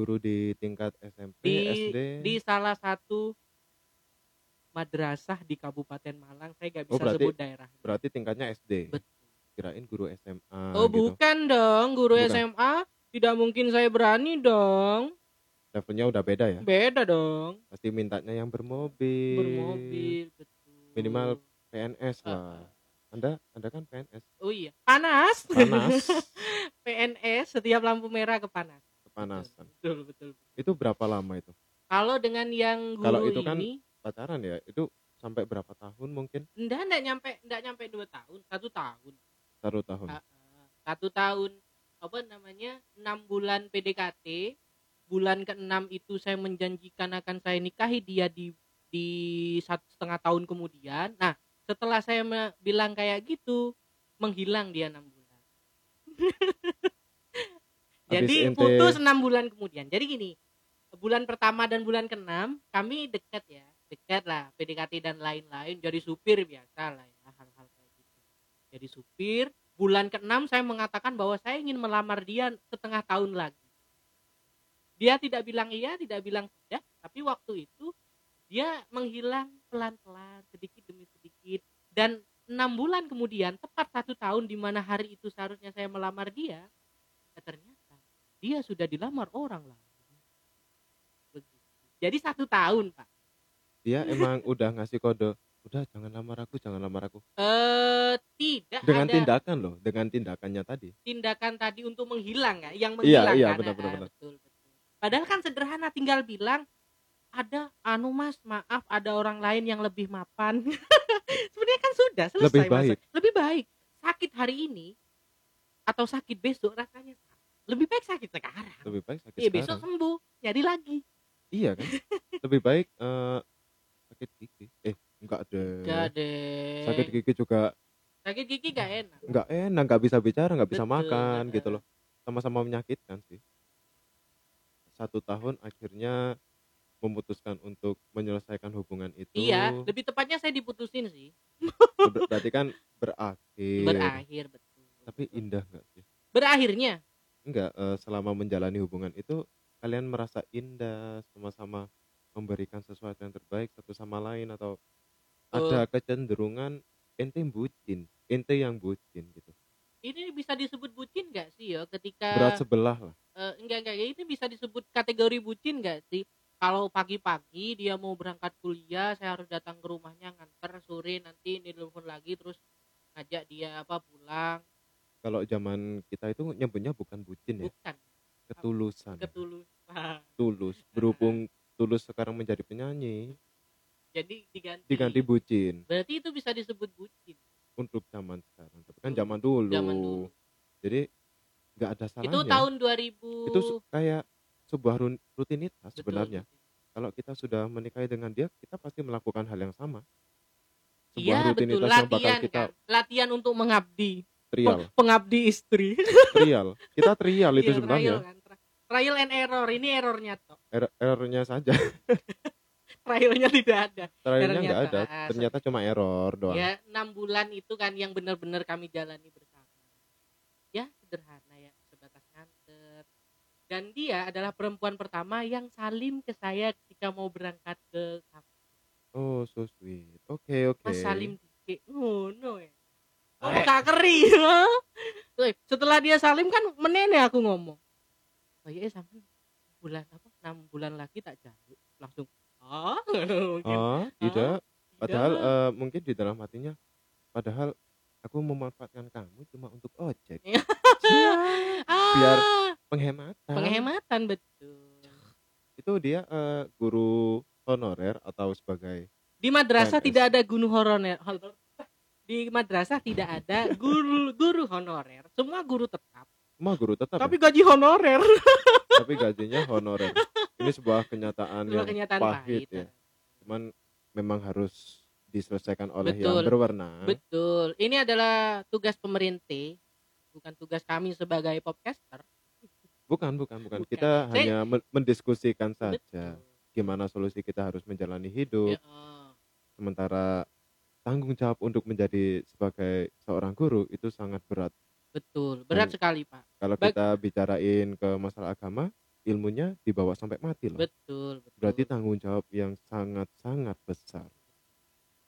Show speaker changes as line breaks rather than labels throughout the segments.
guru di tingkat SMP,
Di
SD?
di salah satu madrasah di Kabupaten Malang, saya nggak
Oh,
bisa
berarti
sebut daerahnya.
berarti tingkatnya SD.
Betul.
Kirain guru SMA
Oh,
gitu.
bukan dong, guru
Bukan.
SMA. Tidak mungkin saya berani dong.
Levelnya udah beda ya.
Beda dong.
Pasti mintanya yang bermobil.
Bermobil, betul.
Minimal PNS
Ah,
lah. Anda Anda kan PNS.
ah. Oh iya, panas.
Panas,
PNS setiap lampu merah kepanas.
kepanasan.
Betul, betul. betul.
Itu berapa lama itu?
Kalau dengan yang guru
Kalau itu kan
ini
Pacaran ya? Itu sampai berapa tahun mungkin?
Enggak, enggak nyampe, enggak nyampe dua tahun, satu tahun,
Satu tahun.
Ah, ah. satu tahun, apa namanya, enam bulan PDKT, bulan keenam itu saya menjanjikan akan saya nikahi dia di di satu setengah tahun kemudian. Nah, setelah saya me- bilang kayak gitu, menghilang dia enam bulan.
Habis
Jadi
ente
putus enam bulan kemudian. Jadi gini, bulan pertama dan bulan keenam kami dekat ya, dekat lah, PDKT dan lain-lain. Jadi supir biasa lah ya, hal-hal kayak gitu. Jadi supir. Bulan keenam saya mengatakan bahwa saya ingin melamar dia setengah tahun lagi. Dia tidak bilang iya, tidak bilang tidak, tapi waktu itu dia menghilang pelan-pelan, sedikit demi sedikit. Dan enam bulan kemudian, tepat satu tahun di mana hari itu seharusnya saya melamar dia, Eh, ternyata dia sudah dilamar orang lain. Begitu. Jadi satu tahun pak.
dia emang udah ngasih kode, udah jangan lamar aku, jangan lamar aku.
Eh tidak
Dengan
ada
tindakan loh, dengan tindakannya tadi.
tindakan tadi untuk menghilang ya, yang
Iya,
menghilang
iya,
kan?
benar
Ah,
benar
ah,
benar.
betul betul. Padahal kan sederhana, tinggal bilang ada anu mas maaf ada orang lain yang lebih mapan. Sebenarnya kan sudah
Lebih
selesai mas.
baik.
Lebih baik sakit hari ini atau sakit besok rasanya sama. lebih baik sakit sekarang.
Lebih baik sakit
Iya besok
sekarang.
sembuh jadi lagi.
Iya kan? Lebih baik eh, sakit gigi. Eh, enggak
Enggak
deh.
deh.
Sakit gigi juga
sakit gigi gak enak
enggak enak, enggak bisa bicara, enggak bisa
betul
makan
heeh.
gitu loh. Sama-sama menyakitkan sih. Satu tahun akhirnya memutuskan untuk menyelesaikan hubungan itu.
iya lebih tepatnya saya diputusin sih
Ber- Berarti kan berakhir.
berakhir betul
Iya. Tapi
betul.
indah enggak sih?
berakhirnya
enggak eh, selama menjalani hubungan itu kalian merasa indah sama-sama memberikan sesuatu yang terbaik satu sama lain atau
eh,
ada kecenderungan ente bucin ente yang bucin gitu
ini bisa disebut bucin gak sih ya
berat
ketika
sebelah lah
eh, enggak enggak ini bisa disebut kategori bucin gak sih kalau pagi-pagi dia mau berangkat kuliah saya harus datang ke rumahnya nganter sore nanti ini telepon lagi terus ngajak dia apa pulang
kalau zaman kita itu nyebutnya bukan bucin ya
bukan apa
ketulusan
ketulusan
tulus berhubung tulus sekarang menjadi penyanyi
jadi diganti
diganti bucin
berarti itu bisa disebut bucin
untuk zaman sekarang tapi kan
Untuk
zaman dulu
zaman dulu
jadi nggak ada
itu
salahnya
tahun 2000
ya. itu se- kayak sebuah run- rutinitas
betul
sebenarnya kalau kita sudah menikahi dengan dia, kita pasti melakukan hal yang sama. Sebuah
iya betul
rutinitas yang bakal
latihan
kita Iya.
kan latihan untuk mengabdi Peng-
trial,
pengabdi istri
trial. Kita trial itu
iya trial
sebenarnya,
kan Tra- trial and error ini errornya toh
Er- errornya saja.
trialnya tidak ada
Trialnya
errornya
nggak
toh
ada,
Ah, so-
ternyata cuma error doang.
ya enam bulan itu kan yang benar-benar kami jalani bersama ya sederhana ya sebatas nganter dan dia adalah perempuan pertama yang salim ke saya ketika mau berangkat ke kampus.
Oh, so sweet. Oke, oke. Eh.
mas salim dike ngono ya oh
Arek.
kak keri Weh, setelah dia salim kan menene aku ngomong kayaknya sampai bulan apa enam bulan lagi tak jaluk langsung ah mungkin
Ah,
ah
tidak. Padahal
tidak
eh, mungkin di dalam hatinya, padahal aku memanfaatkan kamu cuma untuk ojek.
Iya.
Cia, Biar
ah
penghematan.
penghematan betul
Itu dia eh, guru honorer atau sebagai
di madrasah
PNS.
tidak ada guru honorer hon- di madrasah tidak ada guru guru honorer semua guru tetap
Mah guru tetap ya.
tapi gaji honorer
tapi gajinya honorer. Ini sebuah kenyataan yang
sebuah kenyataan
pahit
pahit eh.
ya. Cuman memang harus diselesaikan oleh yang
betul
berwenang.
betul ini adalah tugas pemerintah bukan tugas kami sebagai podcaster
Bukan, bukan, bukan.
bukan
Kita
saya
hanya men- mendiskusikan saja
betul
gimana solusi kita harus menjalani
ya
hidup.
eh.
Sementara tanggung jawab untuk menjadi sebagai seorang guru itu sangat berat.
Betul, berat
Dan
sekali Pak.
kalau
Bag-
kita bicarain ke masalah agama, ilmunya dibawa sampai mati loh.
betul betul
Berarti tanggung jawab yang sangat-sangat besar.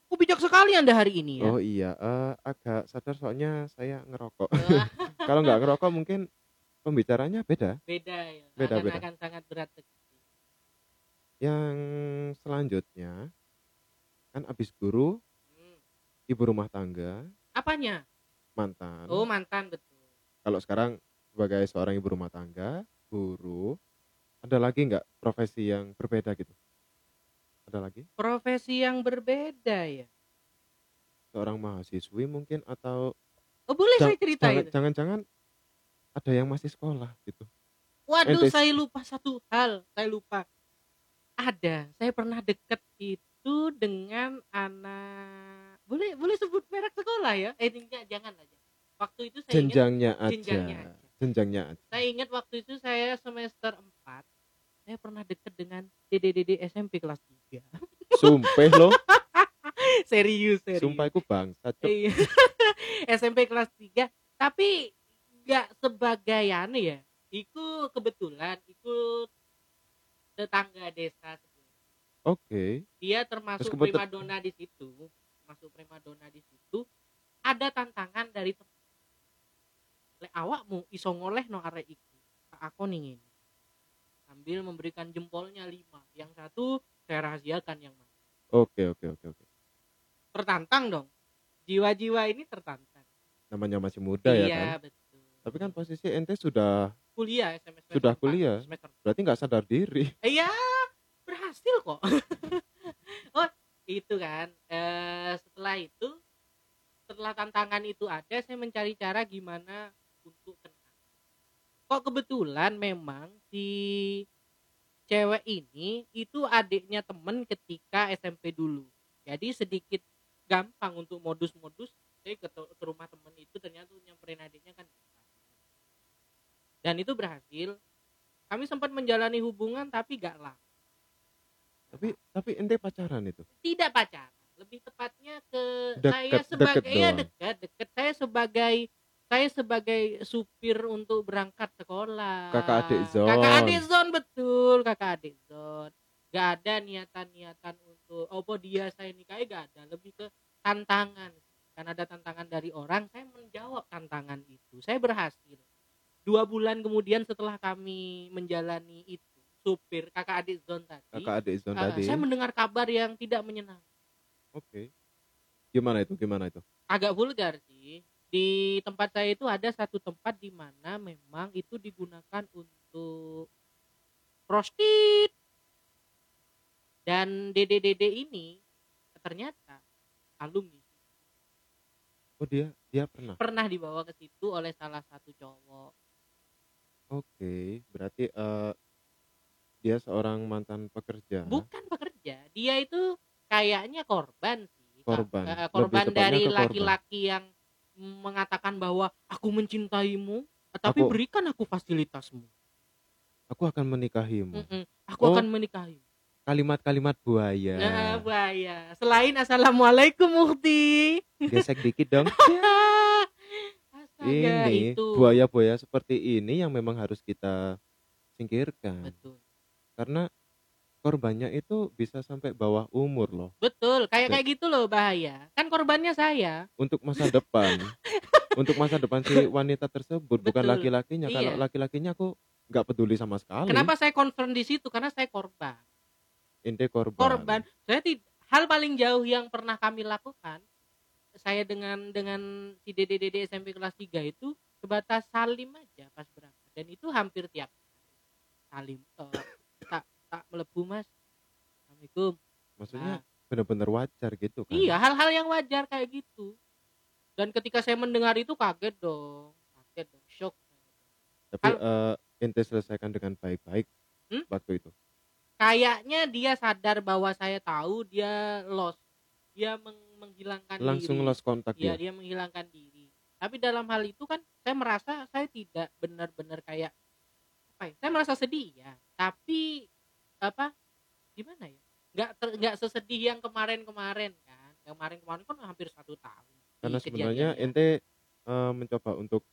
aku bijak sekali anda hari ini ya
Oh iya, eh, agak sadar soalnya saya ngerokok. Kalau nggak ngerokok mungkin pembicaranya beda.
beda ya
Beda,
akan
beda.
akan sangat berat
Yang selanjutnya kan abis guru,
Hmm.
ibu rumah tangga,
apanya
mantan.
oh mantan betul
Kalau sekarang sebagai seorang ibu rumah tangga, guru, ada lagi nggak profesi yang berbeda gitu? Ada lagi?
profesi yang berbeda ya
Seorang mahasiswi mungkin atau
oh boleh
Jang-
saya cerita
jangan-
itu
jangan-jangan ada yang masih sekolah gitu.
Waduh,
Ente-
saya lupa satu hal. Saya lupa. Ada, saya pernah deket itu dengan anak boleh boleh sebut merek sekolah ya? Eh enggak, jangan aja. Waktu itu saya ingat,
Jenjangnya aja.
jenjangnya aja.
Jenjangnya aja.
saya ingat waktu itu saya semester 4 saya pernah deket dengan DDDD SMP kelas 3
Sumpah lo,
serius, serius.
sumpah aku bangsa. Cuk.
Iya. SMP kelas 3 tapi nggak sebagai anu ya iku kebetulan ikut tetangga desa sebelah.
Oke.
dia termasuk
Terus kebetut-
primadona di situ masuk primadona di situ ada tantangan dari tem- lek awakmu iso ngoleh no arek iku aku ningin sambil memberikan jempolnya lima yang satu saya rahasiakan yang mana
Oke, oke, oke, oke.
tertantang dong jiwa-jiwa ini tertantang
Namanya masih muda ya kan.
Iya, betul
Tapi kan posisi ente sudah
kuliah semester
Sudah
empat,
kuliah.
semester
berarti nggak sadar diri.
iya berhasil kok oh itu kan eh, setelah itu setelah tantangan itu ada saya mencari cara gimana untuk kenal kok kebetulan memang si cewek ini itu adiknya temen ketika SMP dulu jadi sedikit gampang untuk modus-modus saya ke, ke rumah temen itu ternyata nyamperin adiknya kan dan itu berhasil kami sempat menjalani hubungan tapi gak lama
Tapi tapi ente pacaran itu.
tidak pacaran lebih tepatnya ke
Deket-
Eh, saya
deket
sebagai ya
doang.
dekat dekat saya sebagai saya sebagai supir untuk berangkat sekolah
Kakak adik zon.
kakak adik zon betul kakak adik zon gak ada niatan niatan untuk opo dia saya nikahi gak ada lebih ke tantangan kan ada tantangan dari orang saya menjawab tantangan itu saya berhasil dua bulan kemudian setelah kami menjalani itu supir kakak adik zon tadi
Kakak adik Zon
Ah,
tadi.
Saya mendengar kabar yang tidak menyenangkan.
Oke. Gimana itu? Gimana itu?
Agak vulgar sih. Di tempat saya itu ada satu tempat di mana memang itu digunakan untuk prostit. Dan DDDD ini ternyata alumni
Oh dia dia pernah.
pernah dibawa ke situ oleh salah satu cowok.
Iya. Oke, berarti eh, dia seorang mantan pekerja.
Bukan pekerja, dia itu kayaknya korban sih.
Korban.
Eh, eh,
Lebih
korban
tepatnya
dari
ke korban.
laki-laki yang mengatakan bahwa aku mencintaimu, tapi
Aku-
berikan aku fasilitasmu.
Aku akan menikahimu.
Mm-mm. Aku
Oh.
akan menikahi.
Kalimat-kalimat buaya.
Nah, bahaya. Selain assalamualaikum Muhti.
Gesek dikit dong.
Astaga,
ini
itu.
buaya-buaya seperti ini yang memang harus kita singkirkan.
Betul.
karena korbannya itu bisa sampai bawah umur loh
Betul, kayak kayak gitu loh bahaya. Kan korbannya saya.
untuk masa depan untuk masa depan si wanita tersebut bukan
Betul.
laki-lakinya kalau
Iya.
laki-lakinya aku nggak peduli sama sekali
Kenapa saya concern di situ? Karena saya korban.
ente korban,
Korban. Saya tid- hal paling jauh yang pernah kami lakukan saya dengan dengan si DDDD SMP kelas 3 itu sebatas salim aja pas berangkat dan itu hampir tiap hari. salim eh, tak tak melebu mas assalamualaikum
maksudnya bener-bener wajar gitu kan
Nah. Iya, hal-hal yang wajar kayak gitu. Dan ketika saya mendengar itu kaget dong, kaget dong, shock.
tapi
Kalau-
eh, ente selesaikan dengan baik-baik
Hmm?
waktu itu
Kayaknya dia sadar bahwa saya tahu dia lost, dia meng- menghilangkan
langsung
diri.
lost kontak ya
Iya, dia menghilangkan diri. Tapi dalam hal itu kan saya merasa saya tidak benar-benar kayak apa ya? Saya merasa sedih ya, tapi apa? Gimana ya? Nggak ter- nggak sesedih yang kemarin-kemarin kan. Kemarin-kemarin kan hampir satu tahun.
karena
Di
sebenarnya
kejadian dia.
ente eh, mencoba untuk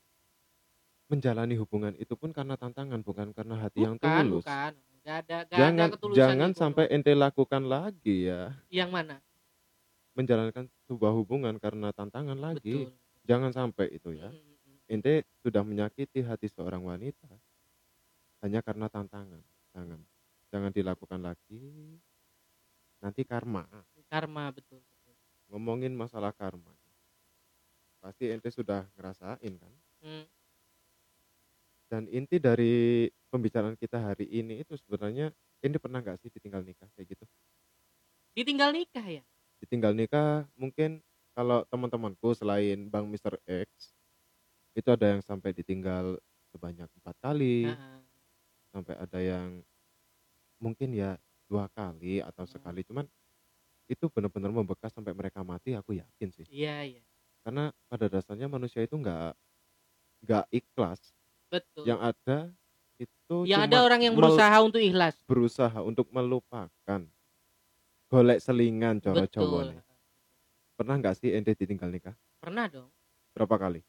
menjalani hubungan itu pun karena tantangan bukan karena hati yang
bukan
tulus.
bukan nggak ada nggak ada
Jangan
ketulusan gitu.
jangan
itu.
sampai ente lakukan lagi ya
yang mana
menjalankan sebuah hubungan karena tantangan lagi.
betul
Jangan sampai itu ya.
Mm, mm, mm.
Ente sudah menyakiti hati seorang wanita hanya karena tantangan. Jangan jangan dilakukan lagi. Nanti karma.
karma betul, betul.
Ngomongin masalah karma. Pasti ente sudah ngerasain kan?
Mm,
dan inti dari pembicaraan kita hari ini itu sebenarnya ini pernah nggak sih ditinggal nikah kayak gitu
ditinggal nikah ya
ditinggal nikah mungkin kalau teman-temanku selain bang Mr. X itu ada yang sampai ditinggal sebanyak empat kali
Nah,
sampai ada yang mungkin ya dua kali atau
Hmm.
sekali cuman itu benar-benar membekas sampai mereka mati aku yakin sih
iya iya
karena pada dasarnya manusia itu nggak nggak ikhlas
betul
yang ada itu
yang
cuma
ada orang yang
mel-
berusaha untuk ikhlas
berusaha untuk melupakan golek selingan coro
betul
jawane pernah nggak sih ente ditinggal nikah
pernah dong
berapa kali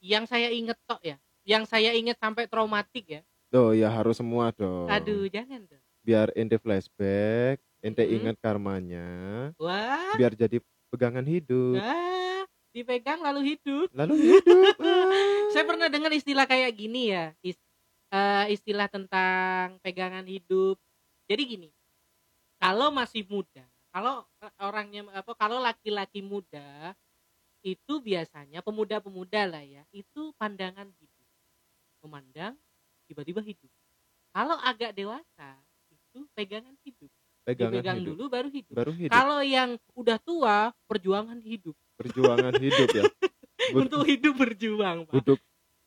yang saya inget tok ya yang saya inget sampai traumatik ya
tuh ya harus semua dong
aduh jangan dong
biar ente flashback ente
Mm-mm.
ingat karmanya
wah
biar jadi pegangan hidup
ah, dipegang lalu hidup
lalu hidup ah.
saya pernah dengar istilah kayak gini ya is- eh, istilah tentang pegangan hidup jadi gini kalau masih muda kalau eh, orangnya apa kalau laki-laki muda itu biasanya pemuda-pemuda lah ya itu pandangan hidup memandang tiba-tiba hidup kalau agak dewasa itu pegangan hidup
pegangan
dipegang
hidup
dulu baru hidup
baru hidup
kalau yang udah tua perjuangan hidup
perjuangan hidup ya Bu-
untuk hidup berjuang pak
duduk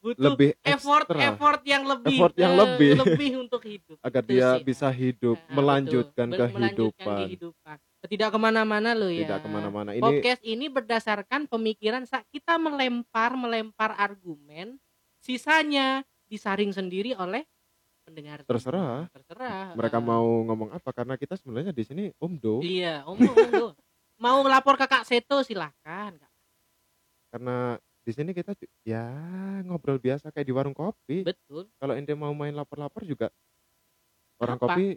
butuh
lebih
effort
ekstra
effort yang lebih
Effort yang
eh,
lebih.
untuk hidup
agar
Itu
dia
sih,
bisa
Pak.
hidup
Ah,
melanjutkan
betul. Bel- melanjutkan
kehidupan
kehidupan tidak kemana-mana loh ya
tidak kemana-mana ini
podcast ini berdasarkan pemikiran saat kita melempar melempar argumen sisanya disaring sendiri oleh pendengar
Terserah.
terserah
mereka
eh.
mau ngomong apa karena kita sebenarnya di sini omdo
iya om, om, om. mau lapor ke kak Seto silahkan Kak.
karena di sini kita ju- ya ngobrol biasa kayak di warung kopi
betul
kalau ente mau main lapar-lapar juga orang
Apa?
kopi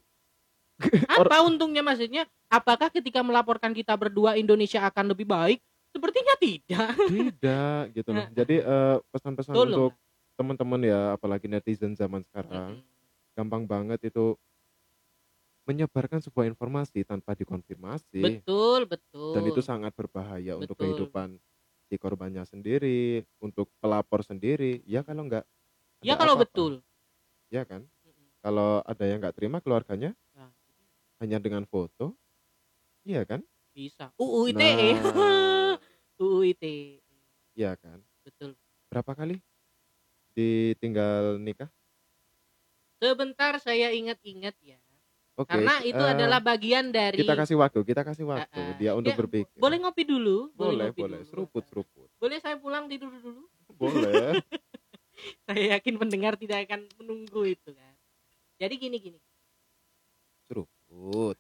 apa untungnya maksudnya apakah ketika melaporkan kita berdua Indonesia akan lebih baik sepertinya tidak
tidak gitu loh jadi eh, pesan-pesan
Tolong.
untuk teman-teman ya apalagi netizen zaman sekarang gampang banget itu menyebarkan sebuah informasi tanpa dikonfirmasi
betul betul
dan itu sangat berbahaya untuk
Betul.
kehidupan si korbannya sendiri untuk pelapor sendiri ya kalau enggak
ya kalau betul
ya kan kalau ada yang nggak terima keluarganya
Nah.
hanya dengan foto iya kan
bisa UU ITE
Nah,
UU ITE
iya kan
betul
berapa kali ditinggal nikah
sebentar saya ingat-ingat ya
oke
karena
eh,
itu adalah bagian dari
kita kasih waktu kita kasih waktu
Ah, ah.
dia untuk
Ya,
berpikir
boleh ngopi dulu
boleh
ngopi
boleh
dulu.
seruput seruput
boleh saya pulang tidur dulu
boleh
saya yakin pendengar tidak akan menunggu itu kan jadi gini gini
Iya, seruput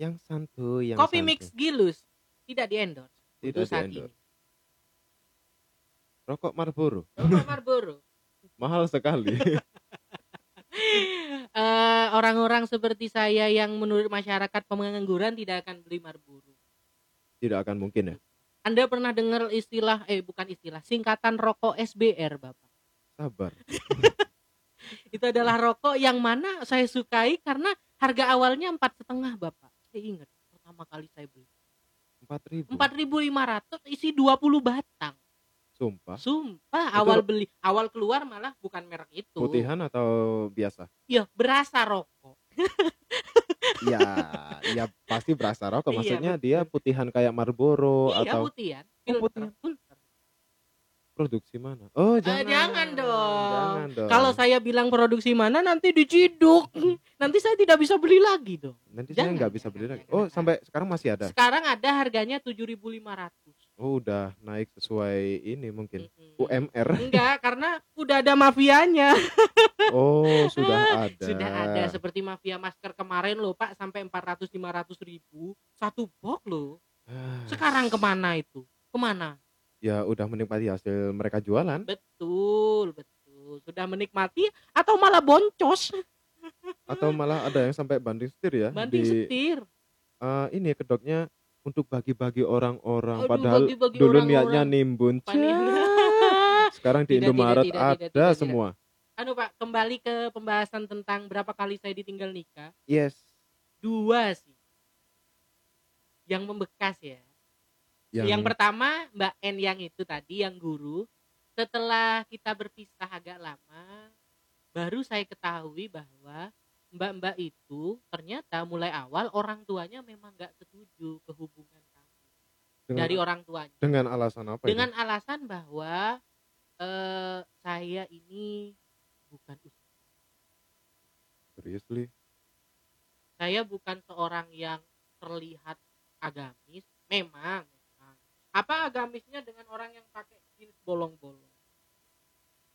yang santuy yang
Kopi
santuy.
Mix Gilus tidak di-endorse
tidak
untuk saat
di-endorse.
ini.
rokok Marlboro
Rokok Marlboro.
mahal sekali
Eh, orang-orang seperti saya yang menurut masyarakat pengangguran tidak akan beli Marlboro.
tidak akan mungkin ya
Anda pernah dengar istilah eh bukan istilah, singkatan rokok SBR, Bapak.
sabar
Itu adalah
Hmm.
rokok yang mana saya sukai karena harga awalnya empat setengah, Bapak. Saya ingat pertama kali saya beli
empat ribu
4.500 isi 20 batang.
sumpah
Sumpah
Itu-
awal beli, awal keluar malah bukan merek itu.
putihan atau biasa
Ya, berasa rokok.
ya ya pasti berasa rokok
Iya,
maksudnya
betul.
dia putihan kayak Marlboro
iya,
atau
putihan.
Oh,
Filter,
putihan.
filter.
produksi mana oh jangan
Eh, jangan dong.
jangan dong
Kalau saya bilang produksi mana nanti diciduk. Nanti saya tidak bisa beli lagi dong.
nanti saya
jangan, Iya,
nggak bisa beli
jangan,
lagi
jangan,
oh
jangan.
sampai sekarang masih ada
Sekarang ada harganya 7.500.
oh udah naik sesuai ini mungkin
Mm-mm.
UMR
Enggak, karena udah ada mafianya.
oh sudah ada
Sudah ada seperti mafia masker kemarin loh, Pak, sampai 400 500 ribu satu box loh.
Ah,
Sekarang kemana itu? Kemana?
ya udah menikmati hasil mereka jualan
Betul, betul. gitu sudah menikmati atau malah boncos
Atau malah ada yang sampai banding setir ya di
banting setir
eh, ini kedoknya untuk bagi-bagi orang-orang
Aduh,
padahal
bagi-bagi
dulu
orang-orang.
niatnya nimbun.
Panen.
Cah. Sekarang di
Tidak,
Indomaret
tidak, tidak, tidak,
ada
tidak, tidak.
semua.
anu pak kembali ke pembahasan tentang berapa kali saya ditinggal nikah
Yes.
dua sih yang membekas ya Yang, pertama Mbak N yang itu tadi yang guru setelah kita berpisah agak lama baru saya ketahui bahwa mbak-mbak itu ternyata mulai awal orang tuanya memang nggak setuju kehubungan kami
dengan,
dari orang tuanya
dengan alasan apa
dengan
ini?
alasan bahwa eh, saya ini bukan ustaz.
Seriously?
saya bukan seorang yang terlihat agamis memang, memang. apa agamisnya dengan orang yang pakai jeans bolong-bolong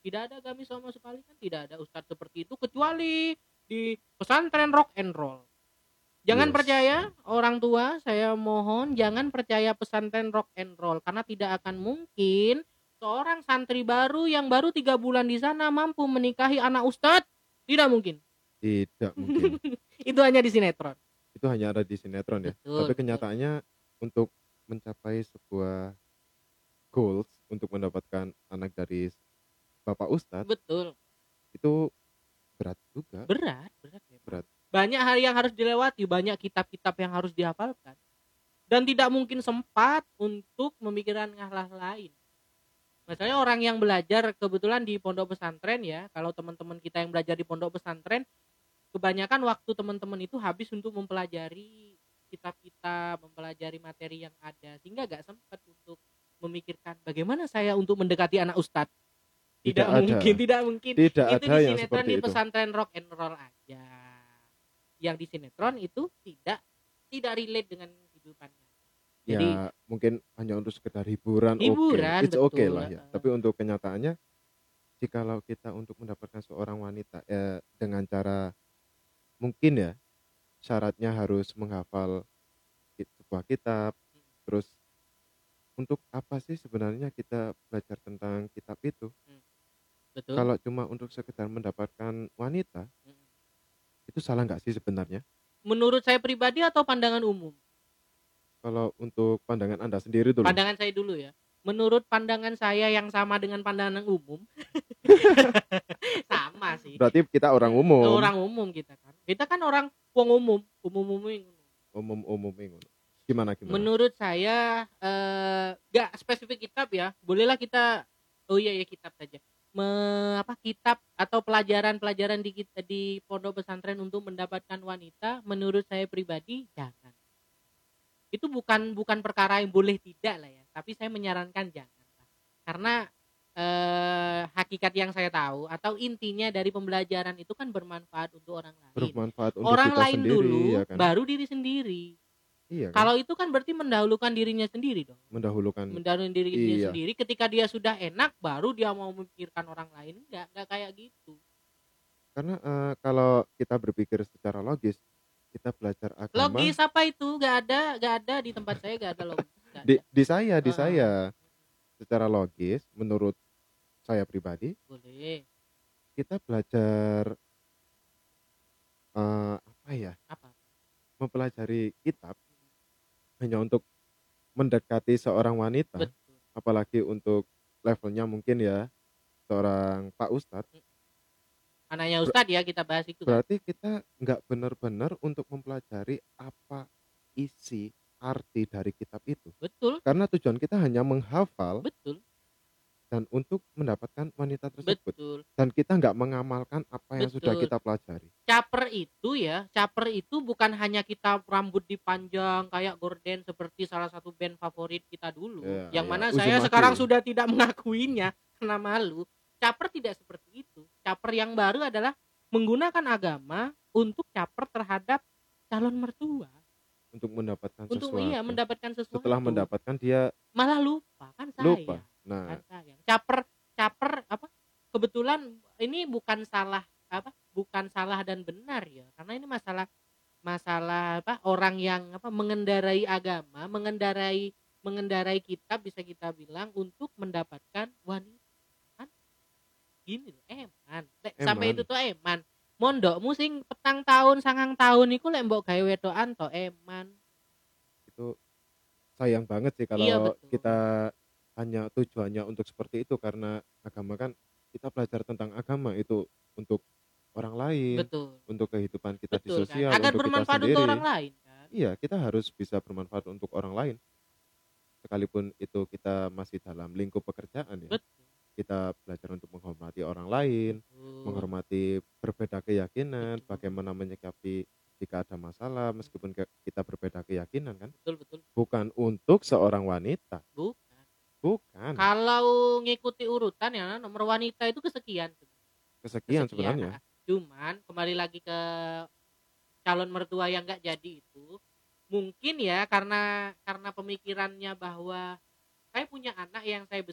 tidak ada agamis sama sekali kan tidak ada ustadz seperti itu kecuali di pesantren rock and roll jangan
Yes.
percaya orang tua saya mohon jangan percaya pesantren rock and roll karena tidak akan mungkin seorang santri baru yang baru tiga bulan di sana mampu menikahi anak ustadz tidak mungkin
Tidak mungkin.
itu hanya di sinetron
Itu hanya ada di sinetron ya.
Betul,
Tapi
betul.
kenyataannya untuk mencapai sebuah goals untuk mendapatkan anak dari Bapak Ustadz
betul
itu berat juga.
berat berat memang.
Berat.
banyak hari yang harus dilewati banyak kitab-kitab yang harus dihafalkan dan tidak mungkin sempat untuk memikirkan hal lain misalnya orang yang belajar kebetulan di pondok pesantren ya kalau teman-teman kita yang belajar di pondok pesantren kebanyakan waktu teman-teman itu habis untuk mempelajari kitab-kitab mempelajari materi yang ada sehingga gak sempat untuk memikirkan bagaimana saya untuk mendekati anak ustadz tidak,
ada.
mungkin tidak mungkin
Tidak
itu
ada
di
yang
sinetron
seperti
di
itu.
pesantren rock and roll aja yang di sinetron itu tidak tidak relate dengan kehidupannya jadi
ya mungkin hanya untuk sekedar hiburan, oke.
Hiburan,
It's okay
betul.
lah ya.
Heeh.
Tapi untuk kenyataannya jikalau kita untuk mendapatkan seorang wanita eh, dengan cara mungkin ya syaratnya harus menghafal ki- sebuah kitab
Hmm.
terus untuk apa sih sebenarnya kita belajar tentang kitab itu
betul
kalau cuma untuk sekedar mendapatkan wanita
Mm.
itu salah nggak sih sebenarnya
menurut saya pribadi atau pandangan umum
kalau untuk pandangan anda sendiri dulu
pandangan saya dulu ya menurut pandangan saya yang sama dengan pandangan umum sama sih
berarti kita orang umum
Iya, orang umum kita kan kita kan orang wong umum umum umum
umum umum ini. gimana gimana
menurut saya eh, nggak spesifik kitab ya bolehlah kita oh iya ya kitab saja Me- apa kitab atau pelajaran-pelajaran di kita di pondok pesantren untuk mendapatkan wanita menurut saya pribadi jangan itu bukan bukan perkara yang boleh tidak lah ya tapi saya menyarankan jangan lah. karena eh, hakikat yang saya tahu atau intinya dari pembelajaran itu kan bermanfaat untuk orang lain
bermanfaat untuk
orang
kita
lain
sendiri
dulu
ya kan
baru diri sendiri
iya kan?
kalau itu kan berarti mendahulukan dirinya sendiri dong.
mendahulukan
Mendahulukan dirinya
Hmm. Iya.
sendiri ketika dia sudah enak baru dia mau memikirkan orang lain. Enggak, enggak kayak gitu.
karena eh, kalau kita berpikir secara logis kita belajar agama
Logis apa itu? Enggak ada, enggak ada di tempat saya enggak ada logis. Enggak
di,
ada.
di saya di
Ah.
saya secara logis menurut saya pribadi
Boleh.
kita belajar eh, apa ya
Apa?
mempelajari kitab hanya untuk mendekati seorang wanita
Betul.
apalagi untuk levelnya mungkin ya seorang pak ustadz
Anaknya Ustadz ya kita bahas itu kan.
berarti kita nggak benar-benar untuk mempelajari apa isi arti dari kitab itu
Betul,
karena tujuan kita hanya menghafal
betul,
dan untuk mendapatkan wanita tersebut
betul.
dan kita nggak mengamalkan apa yang sudah
Betul.
kita pelajari
Caper itu ya, caper itu bukan hanya kita rambut dipanjang kayak gorden seperti salah satu band favorit kita dulu.
Ya,
yang
ya,
mana
Uzumaki.
saya sekarang sudah tidak mengakuinya karena malu. Caper tidak seperti itu. Caper yang baru adalah menggunakan agama untuk caper terhadap calon mertua
untuk mendapatkan
untuk
sesuatu
iya mendapatkan sesuatu.
setelah mendapatkan dia
malah lupa kan saya.
lupa nah
Kan sayang. Caper caper apa? Kebetulan ini bukan salah apa? Bukan salah dan benar ya. Karena ini masalah masalah apa? Orang yang apa mengendarai agama, mengendarai mengendarai kitab bisa kita bilang untuk mendapatkan wanita. Kan gini loh eman lek
Eman.
sampai itu tuh eman mondokmu sing petang tahun sangang tahun iku lek mbok gawe wedokan to eman
itu sayang banget sih kalau
Iya, betul.
kita hanya tujuannya untuk seperti itu karena agama kan kita belajar tentang agama itu untuk orang lain
betul
untuk kehidupan kita di
betul
Iya. sosial
kan agar
untuk kita
bermanfaat
sendiri
untuk orang lain kan
iya kita harus bisa bermanfaat untuk orang lain sekalipun itu kita masih dalam lingkup pekerjaan ya
betul
kita belajar untuk menghormati orang lain menghormati berbeda keyakinan
Betul.
bagaimana menyikapi jika ada masalah meskipun ke- kita berbeda keyakinan kan
betul betul
bukan untuk seorang wanita
bukan
Bukan.
kalau ngikuti urutan ya nomor wanita itu kesekian
Kesekian,
Kesekian,
Iya, sebenarnya.
ah. cuman kembali lagi ke calon mertua yang nggak jadi itu mungkin ya karena karena pemikirannya bahwa saya punya anak yang saya